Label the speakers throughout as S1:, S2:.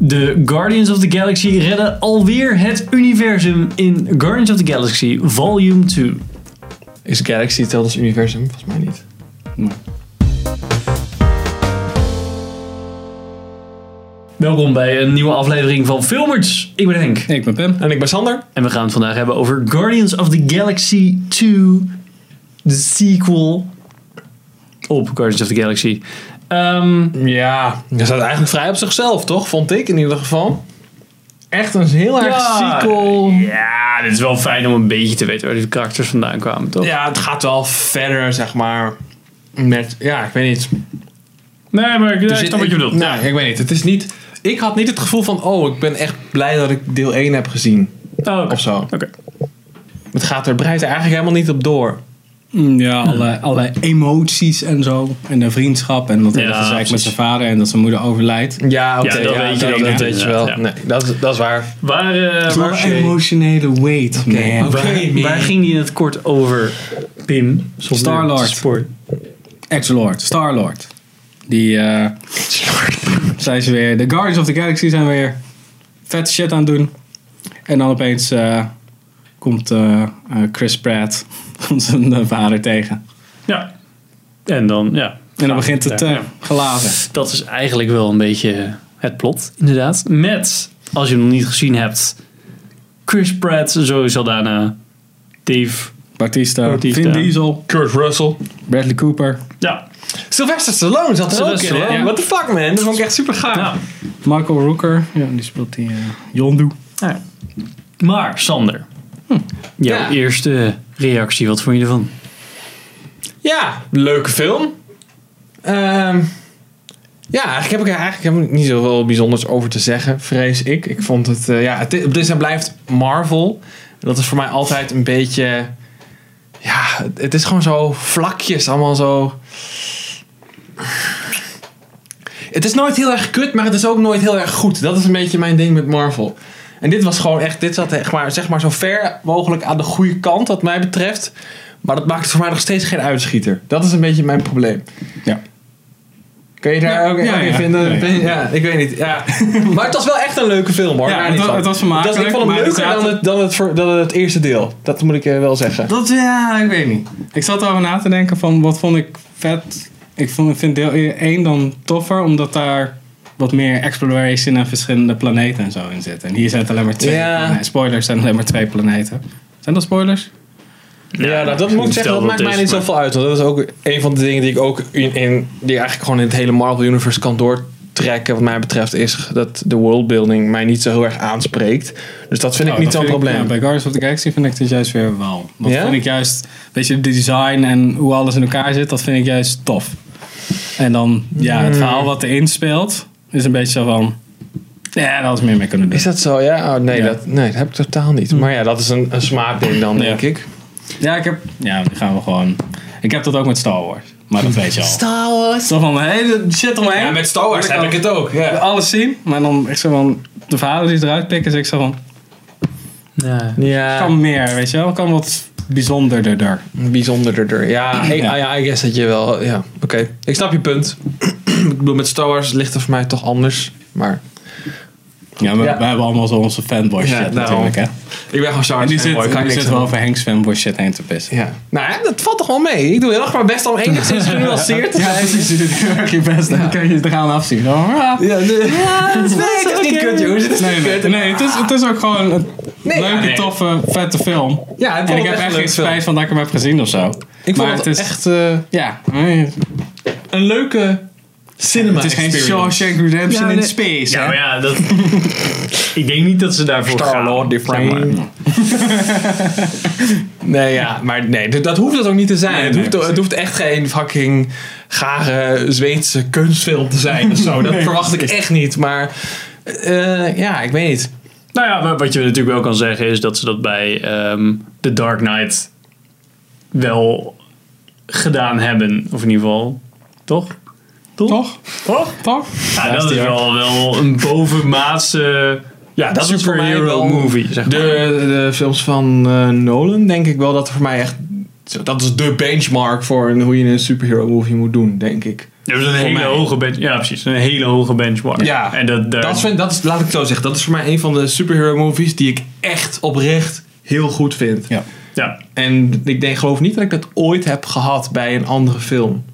S1: De Guardians of the Galaxy redden alweer het universum in Guardians of the Galaxy Volume 2.
S2: Is Galaxy hetzelfde als universum? Volgens mij niet.
S1: Welkom bij een nieuwe aflevering van Filmers. Ik ben Henk.
S3: Ik ben Pim.
S2: En ik ben Sander.
S1: En we gaan het vandaag hebben over Guardians of the Galaxy 2. De sequel op Guardians of the Galaxy. Ehm,
S2: Ja, dat staat eigenlijk vrij op zichzelf, toch? Vond ik in ieder geval. Echt een heel erg
S1: Ja.
S2: sequel.
S1: ja, dit is wel fijn om een beetje te weten waar die karakters vandaan kwamen, toch?
S2: Ja, het gaat wel verder, zeg maar. Met, ja, ik weet niet.
S1: Nee, maar ik,
S2: Er zit-
S1: snap wat je bedoelt.
S2: Nou, ik weet niet. Het is niet... Ik had niet het gevoel van, oh, ik ben echt blij dat ik deel 1 heb gezien.
S1: Oh, oké.
S2: Of zo.
S1: Oké.
S2: Het gaat er breidt er eigenlijk helemaal niet op door.
S3: Mm, Ja, alle, alle emoties en zo. En de vriendschap. En wat hij
S1: Ja,
S3: heeft gezegd met
S1: precies.
S3: zijn vader en dat zijn moeder overlijdt.
S2: Ja, oké.
S1: Ja, dat weet je
S2: dat,
S1: dan
S2: dat
S1: niet,
S2: weet je wel.
S1: inderdaad,
S2: Nee, dat, is- dat is waar.
S1: Waar, eh,
S3: Wel
S1: waar,
S3: een emotionele weight, man.
S2: Oké,
S1: waar,
S2: man.
S1: waar ging die het kort over, Pim? Zonder
S3: Star-Lord.
S1: spoor.
S3: Ex-Lord, Star-Lord. Die, eh zijn ze weer, de Guardians of the Galaxy zijn weer vet shit aan het doen. En dan opeens eh, komt eh, eh, Chris Pratt komt zijn eh, vader tegen.
S1: Ja. En dan, ja.
S3: En dan begint het
S1: Ja,
S3: eh
S1: ja.
S3: glazen.
S1: Dat is eigenlijk wel een beetje het plot, inderdaad. Met, als je hem nog niet gezien hebt, Chris Pratt, Zoe Saldana, Dave.
S3: Bautista,
S1: Bautista.
S3: Vin Diesel,
S2: Kurt Russell.
S3: Bradley Cooper,
S1: Ja,
S2: Sylvester Stallone zat er
S1: Sylvester
S2: ook in. hè?
S1: Stallone.
S2: What the fuck, man? Dat vond ik echt super gaaf.
S1: nou,
S3: Michael Rooker. Ja, die speelt die eh, Yondu.
S1: nou ja. Maar, Sander. Jouw
S2: Hm. Ja.
S1: eerste reactie, wat vond je ervan?
S2: Ja, leuke film. Ehm, ja, eigenlijk heb ik er eigenlijk helemaal niet zoveel bijzonders over te zeggen, vrees ik. Ik vond het, eh, ja, het is, het is en blijft Marvel. En Dat is voor mij altijd een beetje, ja, het- het is gewoon zo vlakjes, allemaal zo. Het is nooit heel erg kut, maar het is ook nooit heel erg goed. Dat is een beetje mijn ding met Marvel. En dit was gewoon echt, dit zat echt maar, zeg maar zo ver mogelijk aan de goede kant, wat mij betreft. Maar dat maakt het voor mij nog steeds geen uitschieter. Dat is een beetje mijn probleem.
S3: Ja.
S2: Kun je daar
S3: Ja,
S2: ook in
S3: ja, ja.
S2: vinden?
S3: Ja, ja.
S2: Ben- Ja, ik weet niet. Ja. maar het was wel echt een leuke film hoor.
S3: Ja,
S2: Daar
S3: het
S2: niet
S3: wa-
S2: van.
S3: het was vermakelijk,
S2: Dat- Ik vond hem
S3: maar er
S2: leuker dan
S3: zaten-
S2: het, dan, het, voor- dan het eerste deel. Dat moet ik eh, wel zeggen.
S3: Dat, ja, ik weet niet. Ik zat erover na te denken van wat vond ik vet. Ik vond, vind deel 1 dan toffer, omdat daar wat meer exploration naar verschillende planeten en zo in zit. En hier zijn het alleen maar twee.
S2: Ja.
S3: Nee, spoilers zijn alleen maar twee planeten. Zijn dat spoilers?
S2: Ja, nou, dat moet ik zeggen, dat maakt mij niet zoveel uit. Want dat is ook een van de dingen die ik ook in, in die eigenlijk gewoon in het hele Marvel Universe kan doortrekken. Wat mij betreft is dat de worldbuilding mij niet zo heel erg aanspreekt. Dus dat vind ik
S3: Oh,
S2: niet
S3: dat
S2: zo'n
S3: vind ik- ja,
S2: probleem.
S3: bij Guardians of the Galaxy vind ik dat juist weer wel. Dat
S2: Ja?
S3: vind ik juist, weet je, de design en hoe alles in elkaar zit, dat vind ik juist tof. En dan, ja,
S2: Hmm.
S3: het verhaal wat erin speelt, is een beetje zo van, ja, daar had ik meer mee kunnen doen.
S2: Is dat zo? Ja? Oh, nee,
S3: Ja. Hm.
S2: Dat, nee, dat heb ik totaal niet. Maar ja, dat is een, een smaakding dan, denk
S3: Ja.
S2: ik.
S3: Ja, ik heb, ja, die gaan we gewoon, ik heb dat ook met Star Wars, maar dat weet je al.
S2: Star Wars.
S3: Zo van, hé, hey, shit omheen.
S2: Ja, met Star Wars heb ik het ook.
S3: wil
S2: Ja.
S3: Alles zien, maar dan echt zo van, de verhalen die ze eruit pikken, is ik zo van,
S1: Ja.
S3: kan meer, weet je wel, kan wat bijzonderder.
S2: bijzonderder. Ja, ik-
S3: Ja.
S2: ah ja, I guess dat je wel. Ja, oké. Ik snap je punt. ik bedoel, met Star Wars ligt het voor mij toch anders. Maar
S3: Ja, maar
S2: Ja.
S3: wij hebben allemaal zo onze fanboy
S2: Ja,
S3: shit
S2: daarom.
S3: natuurlijk, hè.
S2: ik ben gewoon Star
S3: En
S2: Wars.
S3: die zit,
S2: fanboy, kan
S3: die
S2: ik niks
S3: zit
S2: aan
S3: wel
S2: doen.
S3: over Henks fanboy shit heen te pissen.
S2: Ja. Nou ja, dat valt toch wel mee. Ik doe heel erg mijn best om enigszins genuanceerd te zijn.
S3: Je doet heel erg je best en dan kun je het eraan afzien. Zo, ah.
S2: Ja, nee. het is, nee, het is niet kut, jongens. Het is
S3: Nee,
S2: niet
S3: nee,
S2: kut.
S3: nee het, is, het is ook gewoon een
S2: Nee, ja,
S3: leuke,
S2: nee.
S3: toffe, vette film.
S2: Ja, ik
S3: En
S2: vond
S3: ik
S2: het
S3: heb
S2: echt een
S3: echt geen
S2: leuke film.
S3: spijt van dat ik hem heb gezien of zo.
S2: Ik vond
S3: maar
S2: het,
S3: het is
S2: echt eh,
S3: Ja, nee,
S2: een leuke cinema
S3: het is geen
S2: experience.
S3: Shawshank Redemption
S1: Ja,
S3: in
S1: nee.
S3: space.
S1: Ja,
S3: hè?
S1: maar ja, dat, ik denk niet dat ze daarvoor gaan.
S2: Star-Lord, die
S1: zeg maar.
S2: frame. Nee, ja, maar nee, d- dat hoeft het ook niet te zijn.
S3: Nee,
S2: het,
S3: nee,
S2: hoeft, het hoeft echt geen fucking gare Zweedse kunstfilm te zijn of zo. Dat
S3: Nee,
S2: verwacht ik echt niet, maar eh, ja, ik weet niet.
S1: Nou ja, maar wat je natuurlijk wel kan zeggen is dat ze dat bij ehm, The Dark Knight wel gedaan hebben. Of in ieder geval, toch?
S3: Toch?
S1: Toch?
S3: Toch?
S1: Ja,
S3: Daar
S1: dat
S3: die
S1: is
S3: hoor.
S1: wel, wel een bovenmaatse ja,
S2: dat is voor mij
S1: superhero
S2: wel
S1: movie, zeg
S2: De,
S1: maar.
S2: de films van eh, Nolan denk ik wel dat voor mij echt... zo, Dat is de benchmark voor een- hoe je een superhero movie moet doen, denk ik.
S1: Dat is een hele
S2: mij.
S1: hoge bench. Ja, precies. Een hele hoge benchmark.
S2: Ja.
S1: En dat, daar-
S2: Dat, vind, dat is, laat ik het zo zeggen, dat is voor mij een van de superhero movies die ik echt oprecht heel goed vind.
S3: Ja.
S1: ja.
S2: En ik denk, geloof niet dat ik dat ooit heb gehad bij een andere film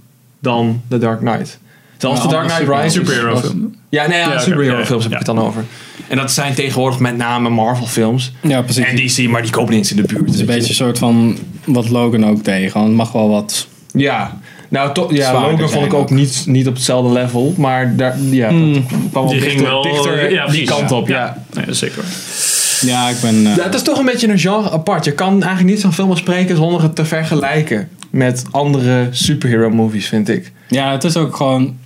S2: dan The Dark Knight. Zelfs
S3: Een
S2: The Dark
S3: andere
S2: Knight
S3: superhero-
S2: Rises.
S1: superhero
S2: was-
S1: film.
S2: Ja, nee, ja,
S1: oké,
S2: superhero
S1: ja, ja,
S2: films heb
S1: ja.
S2: ik het dan over. En dat zijn tegenwoordig met name Marvel films.
S3: Ja, precies.
S2: En DC, maar die komen niet eens in de buurt.
S3: Het is een beetje een soort van wat Logan ook deed. Gewoon, het mag wel wat.
S2: Ja. Nou, toch ja,
S3: Zwaarder
S2: Logan
S3: zijn
S2: vond ik ook
S3: ook.
S2: niet, niet op hetzelfde level. Maar daar, ja, dat kwam wel
S1: Hmm. Die
S2: dichter,
S1: ging wel
S2: dichter
S1: ja,
S2: die
S1: precies.
S2: kant op. ja.
S1: Nee, dat is zeker. waar.
S3: Ja, ik ben. eh,
S2: Ja, het is toch een beetje een genre apart. Je kan eigenlijk niet zo'n film bespreken zonder het te vergelijken met andere superhero movies, vind ik.
S3: ja, het is ook gewoon.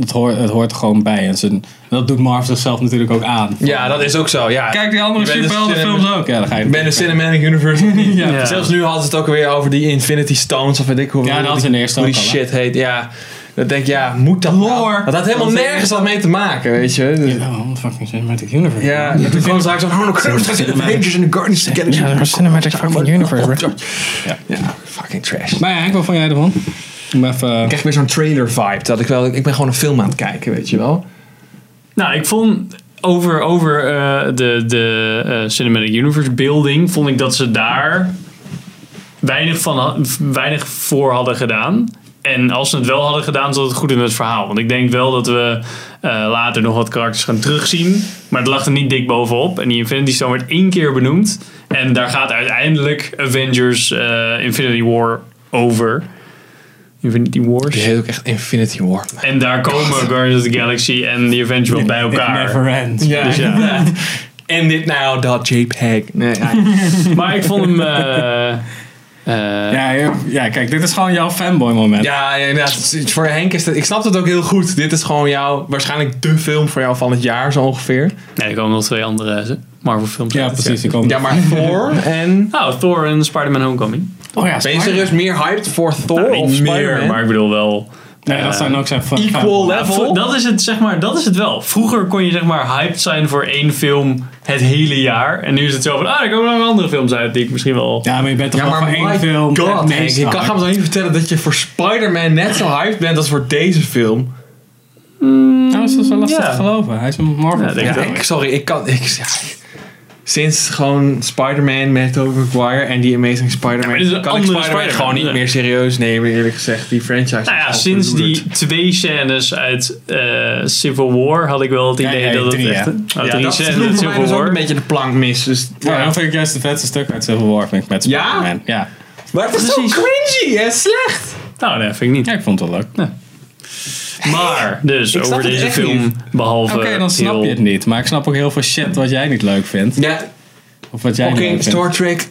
S3: Het hoort, het hoort er gewoon bij. En ze- dat doet Marvel zichzelf natuurlijk ook aan.
S2: Ja, dat is ook zo. Ja.
S3: Kijk die andere
S2: Je bent een
S3: superheldenfilms ook. Ja, dan ga je.
S2: ik ben de Cinematic Universe ook niet.
S3: Ja.
S1: Ja.
S2: Zelfs nu hadden ze het ook weer over die Infinity Stones of weet ik hoe.
S3: Ja, dat
S2: hoe
S3: is
S2: die-
S3: in de eerste
S2: Hoe
S3: ook
S2: die
S3: al, hè?
S2: shit heet. Ja, dat denk ik, ja, moet dat nou?
S3: Lore.
S2: Dat had helemaal
S3: Dat is-
S2: nergens wat mee te maken, weet je. Dus-
S3: Ja, want fucking Cinematic Universe.
S2: Ja, toen kwam ze oh, eigenlijk zo'n Harlem Cruz in Avengers en the Guardians of the Galaxy.
S3: Ja, dat is Cinematic fucking Universe,
S2: Ja. ja, fucking trash. Ik
S3: Maar ja, ik wat van jij ervan? Ik ben even. eh,
S2: krijg weer zo'n trailer vibe. Dat ik wel, ik ben gewoon een film aan het kijken, weet je wel.
S1: Nou, ik vond over, over eh, de, de eh, Cinematic Universe building, vond ik dat ze daar weinig, van, ha- weinig voor hadden gedaan. En als ze het wel hadden gedaan, zat het goed in het verhaal. Want ik denk wel dat we eh, later nog wat karakters gaan terugzien. Maar het lag er niet dik bovenop. En die Infinity Stone werd één keer benoemd. En daar gaat uiteindelijk Avengers eh, Infinity War over. Infinity Wars.
S2: Die heet ook echt Infinity War.
S1: En daar komen Guardians of the Galaxy en The Avengers wel bij elkaar.
S3: It never ends.
S2: Ja,
S1: Dus ja.
S2: inderdaad. En dit nou, dat
S3: E
S2: JPEG. Nee, ja.
S1: Maar ik vond hem. eh, eh,
S3: Ja, joh. ja, kijk, dit is gewoon jouw fanboy moment.
S2: ja, inderdaad. Voor Henk is dat... Ik snap het ook heel goed. Dit is gewoon jouw... Waarschijnlijk de film voor jou van het jaar, zo ongeveer.
S1: Nee, er komen nog twee andere eh, Marvel-films. dus
S3: Ja, precies. Ik kom.
S2: Ja, maar Thor en...
S1: Nou, Thor en Spider-Man Homecoming.
S3: oh ja,
S2: Ben je
S3: Spider-
S2: serieus meer hyped voor Thor
S1: Nou,
S2: Oh, of
S1: niet meer,
S2: Spider-Man?
S1: maar ik bedoel wel.
S3: Nee, dat zijn ook zijn fan.
S2: Equal
S3: fanboy.
S1: Ja,
S2: level?
S1: vo- dat, is het, zeg maar, dat is het wel. Vroeger kon je zeg maar hyped zijn voor één film het hele jaar. En nu is het zo van, ah, er komen nog andere films uit die ik misschien wel...
S3: Ja, maar je bent toch
S2: Ja,
S3: wel
S2: maar
S3: voor
S2: my
S3: één film.
S2: God,
S3: het
S2: Henk,
S3: meest
S2: je kan,
S3: hype.
S2: ga me toch niet vertellen dat je voor Spider-Man net zo hyped bent als voor deze film?
S3: Nou, is dat wel lastig
S1: Ja.
S3: te geloven. Hij is een
S1: Ja,
S3: Marvel
S1: denk
S3: fan.
S1: het
S2: Ja,
S1: wel.
S2: ik, sorry, ik kan... Ik, ja, sinds gewoon Spider-Man met Tobey Maguire en die Amazing Spider-Man...
S1: maar dit is een
S2: kan ik
S1: andere
S2: Spider-Man
S1: Spider-Man,
S2: gewoon niet
S1: ja.
S2: meer serieus nemen, eerlijk gezegd. Die franchise is
S1: Nou ja,
S2: al
S1: sinds
S2: verloederd.
S1: die twee scènes uit eh, Civil War had ik wel het
S3: Ja,
S1: idee
S3: ja,
S1: dat
S3: drie,
S1: het echt...
S3: hè?
S1: Oh,
S2: ja,
S1: drie
S2: dat
S1: scènes uit
S2: is
S1: Civil
S2: dus ook
S1: War.
S2: een beetje de plank mis. Dus,
S3: Ja, Nou, dan vind ik juist het vetste stuk uit Civil War vind ik met
S2: Ja?
S3: Spider-Man. Ja?
S2: Maar het is
S1: Precies.
S2: zo cringy en slecht.
S1: Nou, nee, vind ik niet.
S3: ja, ik vond het wel leuk.
S1: Maar, dus,
S2: Ik snap
S1: over
S2: het
S1: deze
S2: echt
S1: film, behalve
S3: Oké, dan snap
S1: heel-
S3: je het niet. Maar ik snap ook heel veel shit wat jij niet leuk vindt.
S2: Ja,
S3: Of wat jij
S2: oké,
S3: niet leuk vindt.
S2: Star Trek.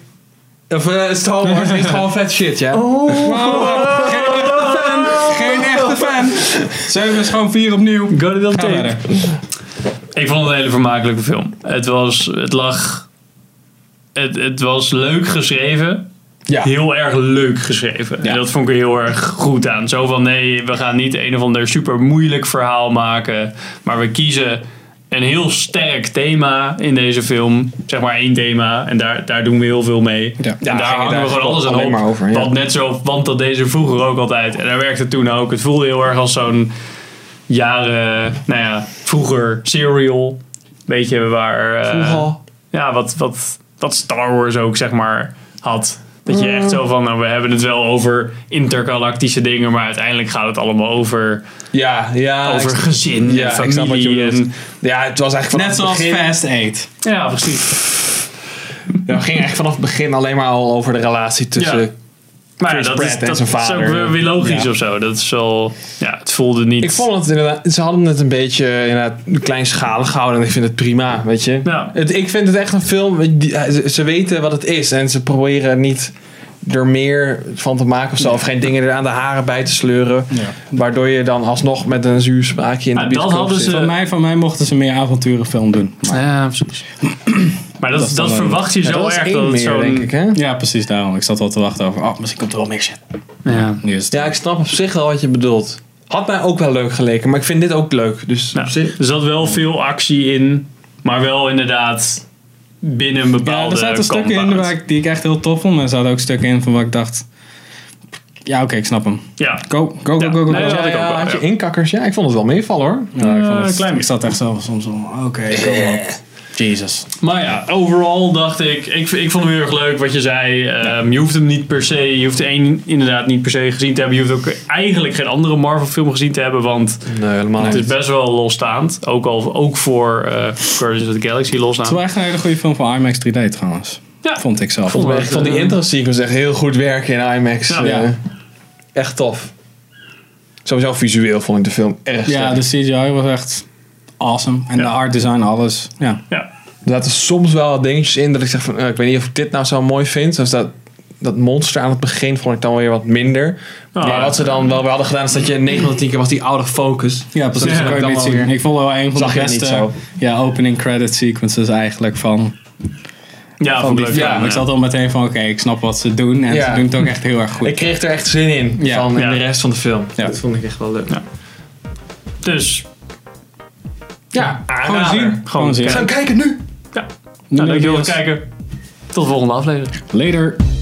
S2: Of eh, Star Wars is gewoon vet shit, ja.
S1: Oh.
S3: Geen echte fan. Zeven is gewoon vier opnieuw.
S1: Go to the
S3: Ga
S1: tape.
S3: verder.
S1: Ik vond het een hele vermakelijke film. Het was, het lag, het, het was leuk geschreven.
S2: Ja.
S1: Heel erg leuk geschreven.
S3: Ja.
S1: En dat vond ik er heel erg goed aan. Zo van nee, we gaan niet een of ander super moeilijk verhaal maken. Maar we kiezen een heel sterk thema in deze film. Zeg maar één thema. En daar, daar doen we heel veel mee.
S3: Ja.
S1: En
S3: Ja,
S1: daar
S2: ging het
S1: hangen we gewoon
S2: eigenlijk
S1: alles aan
S2: alleen
S1: op.
S2: maar over, ja.
S1: Want net zo, want dat deze vroeger ook altijd. En daar werkte toen ook. Het voelde heel erg als zo'n jaren, nou ja, vroeger serial. Weet je, waar... eh,
S2: Vroeger.
S1: ja, wat, wat, wat Star Wars ook, zeg maar, had. Dat je
S2: Mm.
S1: echt zo van, nou, we hebben het wel over intergalactische dingen, maar uiteindelijk gaat het allemaal over,
S2: Ja, ja.
S1: over
S2: ik-
S1: gezin
S2: ja,
S1: en ehm,
S2: ik snap wat je
S1: familie.
S2: bedoelt.
S1: en,
S2: Ja, het was eigenlijk vanaf
S3: Net zoals
S2: het begin...
S3: Fast 8.
S1: ja, precies.
S2: Ja, we gingen echt vanaf het begin alleen maar al over de relatie tussen...
S1: Ja. Maar ja,
S2: Chris
S1: dat,
S2: Pratt
S1: is,
S2: en
S1: dat
S2: zijn
S1: is ook
S2: vader.
S1: weer- weer logisch
S3: Ja.
S1: of zo. Dat is wel, ja, het voelde niet...
S2: Ik vond het inderdaad... Ze hadden het een beetje inderdaad kleinschalig gehouden. En ik vind het prima, weet je.
S1: Ja.
S2: Het, ik vind het echt een film... weet je, die- ze, ze weten wat het is. En ze proberen niet er meer van te maken of zo. Of geen dingen er aan de haren bij te sleuren.
S3: Ja.
S2: Waardoor je dan alsnog met een zuur spraakje in
S1: Nou,
S2: de
S1: dat
S2: bioscoop
S1: hadden
S2: zit.
S1: ze-
S3: Van mij, van mij mochten ze meer avonturenfilm doen. Maar-
S1: Ja, precies. Maar dat,
S3: Dat
S1: dat,
S3: is dan wel-
S1: verwacht je
S2: Ja,
S1: zo
S2: dat was
S1: erg
S2: één
S1: dat het
S2: meer,
S1: zo'n...
S2: denk ik, hè?
S3: Ja, precies daarom. Ik zat al te wachten over, oh, misschien komt er wel meer shit.
S1: Ja. Nou,
S3: Nu is het-
S2: Ja, ik snap op zich wel wat je bedoelt. Had mij ook wel leuk geleken, maar ik vind dit ook leuk. Dus
S1: Nou,
S2: op zich...
S1: er zat wel veel actie in, maar wel inderdaad binnen een
S3: Ja,
S1: bepaalde
S3: er zaten stukken in
S1: compound.
S3: waar ik, die ik echt heel tof vond. Maar er zaten ook stukken in van waar ik dacht... Ja, oké, ik snap hem.
S1: Ja.
S3: Go, go, go,
S1: Ja.
S3: go, go.
S1: Nee,
S3: go.
S1: dat had ik ook wel,
S2: had je
S1: ja.
S2: inkakkers? Ja, ik vond het wel meevallen hoor.
S3: Ja, ik, vond
S1: Eh,
S3: het-
S1: klein
S3: ik zat echt zo soms al. Oké, go op. Jesus.
S1: Maar ja, overal dacht ik, ik, ik vond hem heel erg leuk wat je zei. Ehm, je hoeft hem niet per se, je hoeft de één inderdaad niet per se gezien te hebben. Je hoeft ook eigenlijk geen andere Marvel film gezien te hebben, want
S2: Nee, helemaal
S1: het is best wel losstaand. Ook, al, ook voor eh Guardians of the Galaxy
S3: Het is
S1: losstaand.
S3: wel echt een hele goede film voor IMAX 3D trouwens.
S1: Ja.
S3: Vond ik zelf.
S1: Vond-
S2: Ik vond die intro sequence echt heel goed werken in IMAX.
S1: Ja.
S2: eh,
S3: Ja.
S2: Echt tof. Sowieso visueel vond ik de film erg
S3: Ja, dus-
S2: sterk.
S3: de CGI was echt awesome. En
S1: Ja.
S3: de art design, alles. Ja.
S1: Ja.
S2: Er zaten soms wel wat dingetjes in dat ik zeg van, eh, ik weet niet of ik dit nou zo mooi vind. Zoals dat, dat monster aan het begin vond ik dan weer wat minder.
S1: Ah,
S2: maar
S1: ja.
S2: wat ze dan wel weer hadden gedaan is dat je 9 van de 10 keer was die oude focus.
S3: Ja, precies.
S1: Ja,
S3: dat
S2: kan
S3: kan je
S2: wel
S3: niet zien.
S2: weer.
S3: Ik vond wel een van
S2: Zag
S3: de
S2: je het niet
S3: beste
S2: zo.
S3: ja, opening credit sequences eigenlijk van,
S1: Ja,
S3: van
S1: vond ik
S3: die
S1: Oh, leuk.
S3: film.
S1: ja.
S3: Ik zat al meteen van, oké, ik snap wat ze doen. En
S2: Ja.
S3: ze doen het ook echt heel erg goed.
S2: Ik kreeg er echt zin in
S3: Ja.
S2: van in
S1: Ja.
S2: de rest van de film.
S3: Ja.
S2: Dat vond ik echt wel leuk.
S1: Ja. Dus,
S2: Ja,
S1: aanrader.
S3: zien. Gewoon zien.
S1: kijken.
S2: Gaan kijken nu!
S1: Ja. Nou, dankjewel voor het kijken. Tot de volgende aflevering.
S3: Later.